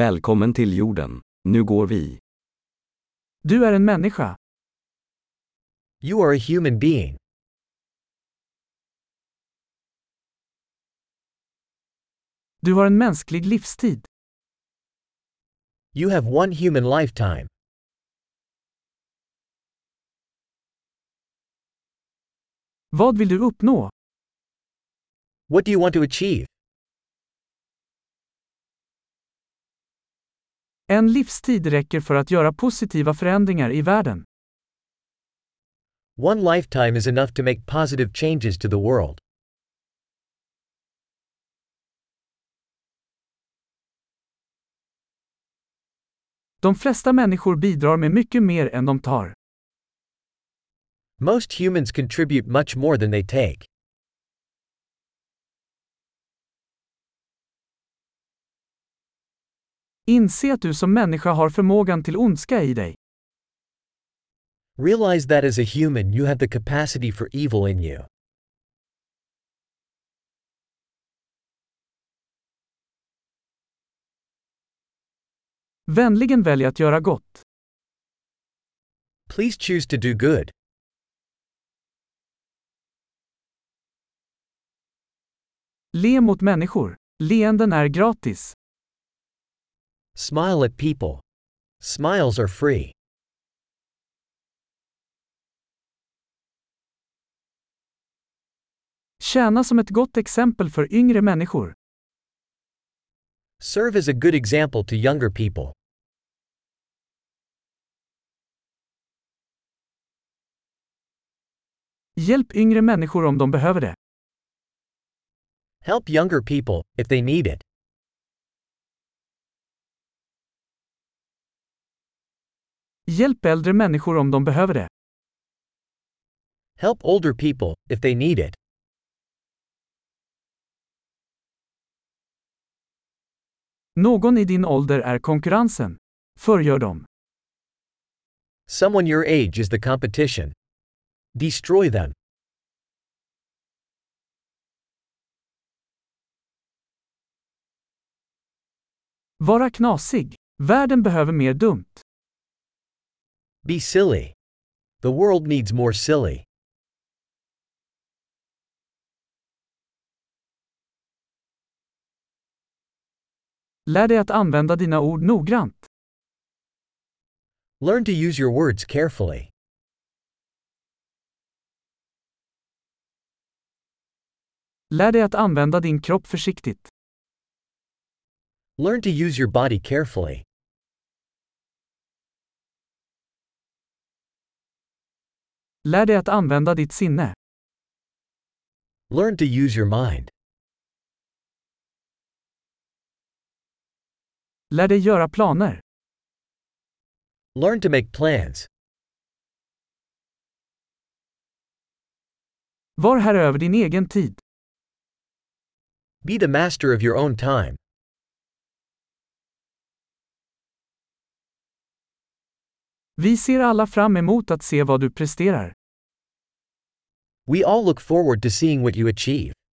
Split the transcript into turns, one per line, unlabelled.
Välkommen till jorden. Nu går vi.
Du är en människa.
You are a human being.
Du har en mänsklig livstid.
You have one human lifetime.
Vad vill du uppnå?
What do you want to achieve?
En livstid räcker för att göra positiva förändringar i världen.
One lifetime is enough to make positive changes to the world.
De flesta människor bidrar med mycket mer än de tar.
Most humans contribute much more than they take.
Inse att du som människa har förmågan till ondska i dig.
Realize that as a human you have the capacity for evil in you.
Vänligen välj att göra gott.
Please choose to do good.
Le mot människor. Leenden är gratis.
Smile at people. Smiles are free.
Tjäna som ett gott exempel för yngre människor.
Serve as a good example to younger people.
Hjälp yngre människor om de behöver det.
Help younger people if they need it.
Hjälp äldre människor om de behöver det.
Help older people if they need it.
Någon i din ålder är konkurrensen. Förgör dem.
Someone your age is the competition. Destroy them.
Vara knasig. Världen behöver mer dumt.
Be silly. The world needs more silly.
Lär dig att använda dina ord noggrant.
Learn to use your words carefully.
Lär dig att använda din kropp försiktigt.
Learn to use your body carefully.
Lär dig att använda ditt sinne.
Learn to use your mind.
Lär dig göra planer.
Learn to make plans.
Var herre över din egen tid.
Be the master of your own time.
Vi ser alla fram emot att se vad du presterar.
We all look forward to seeing what you achieve.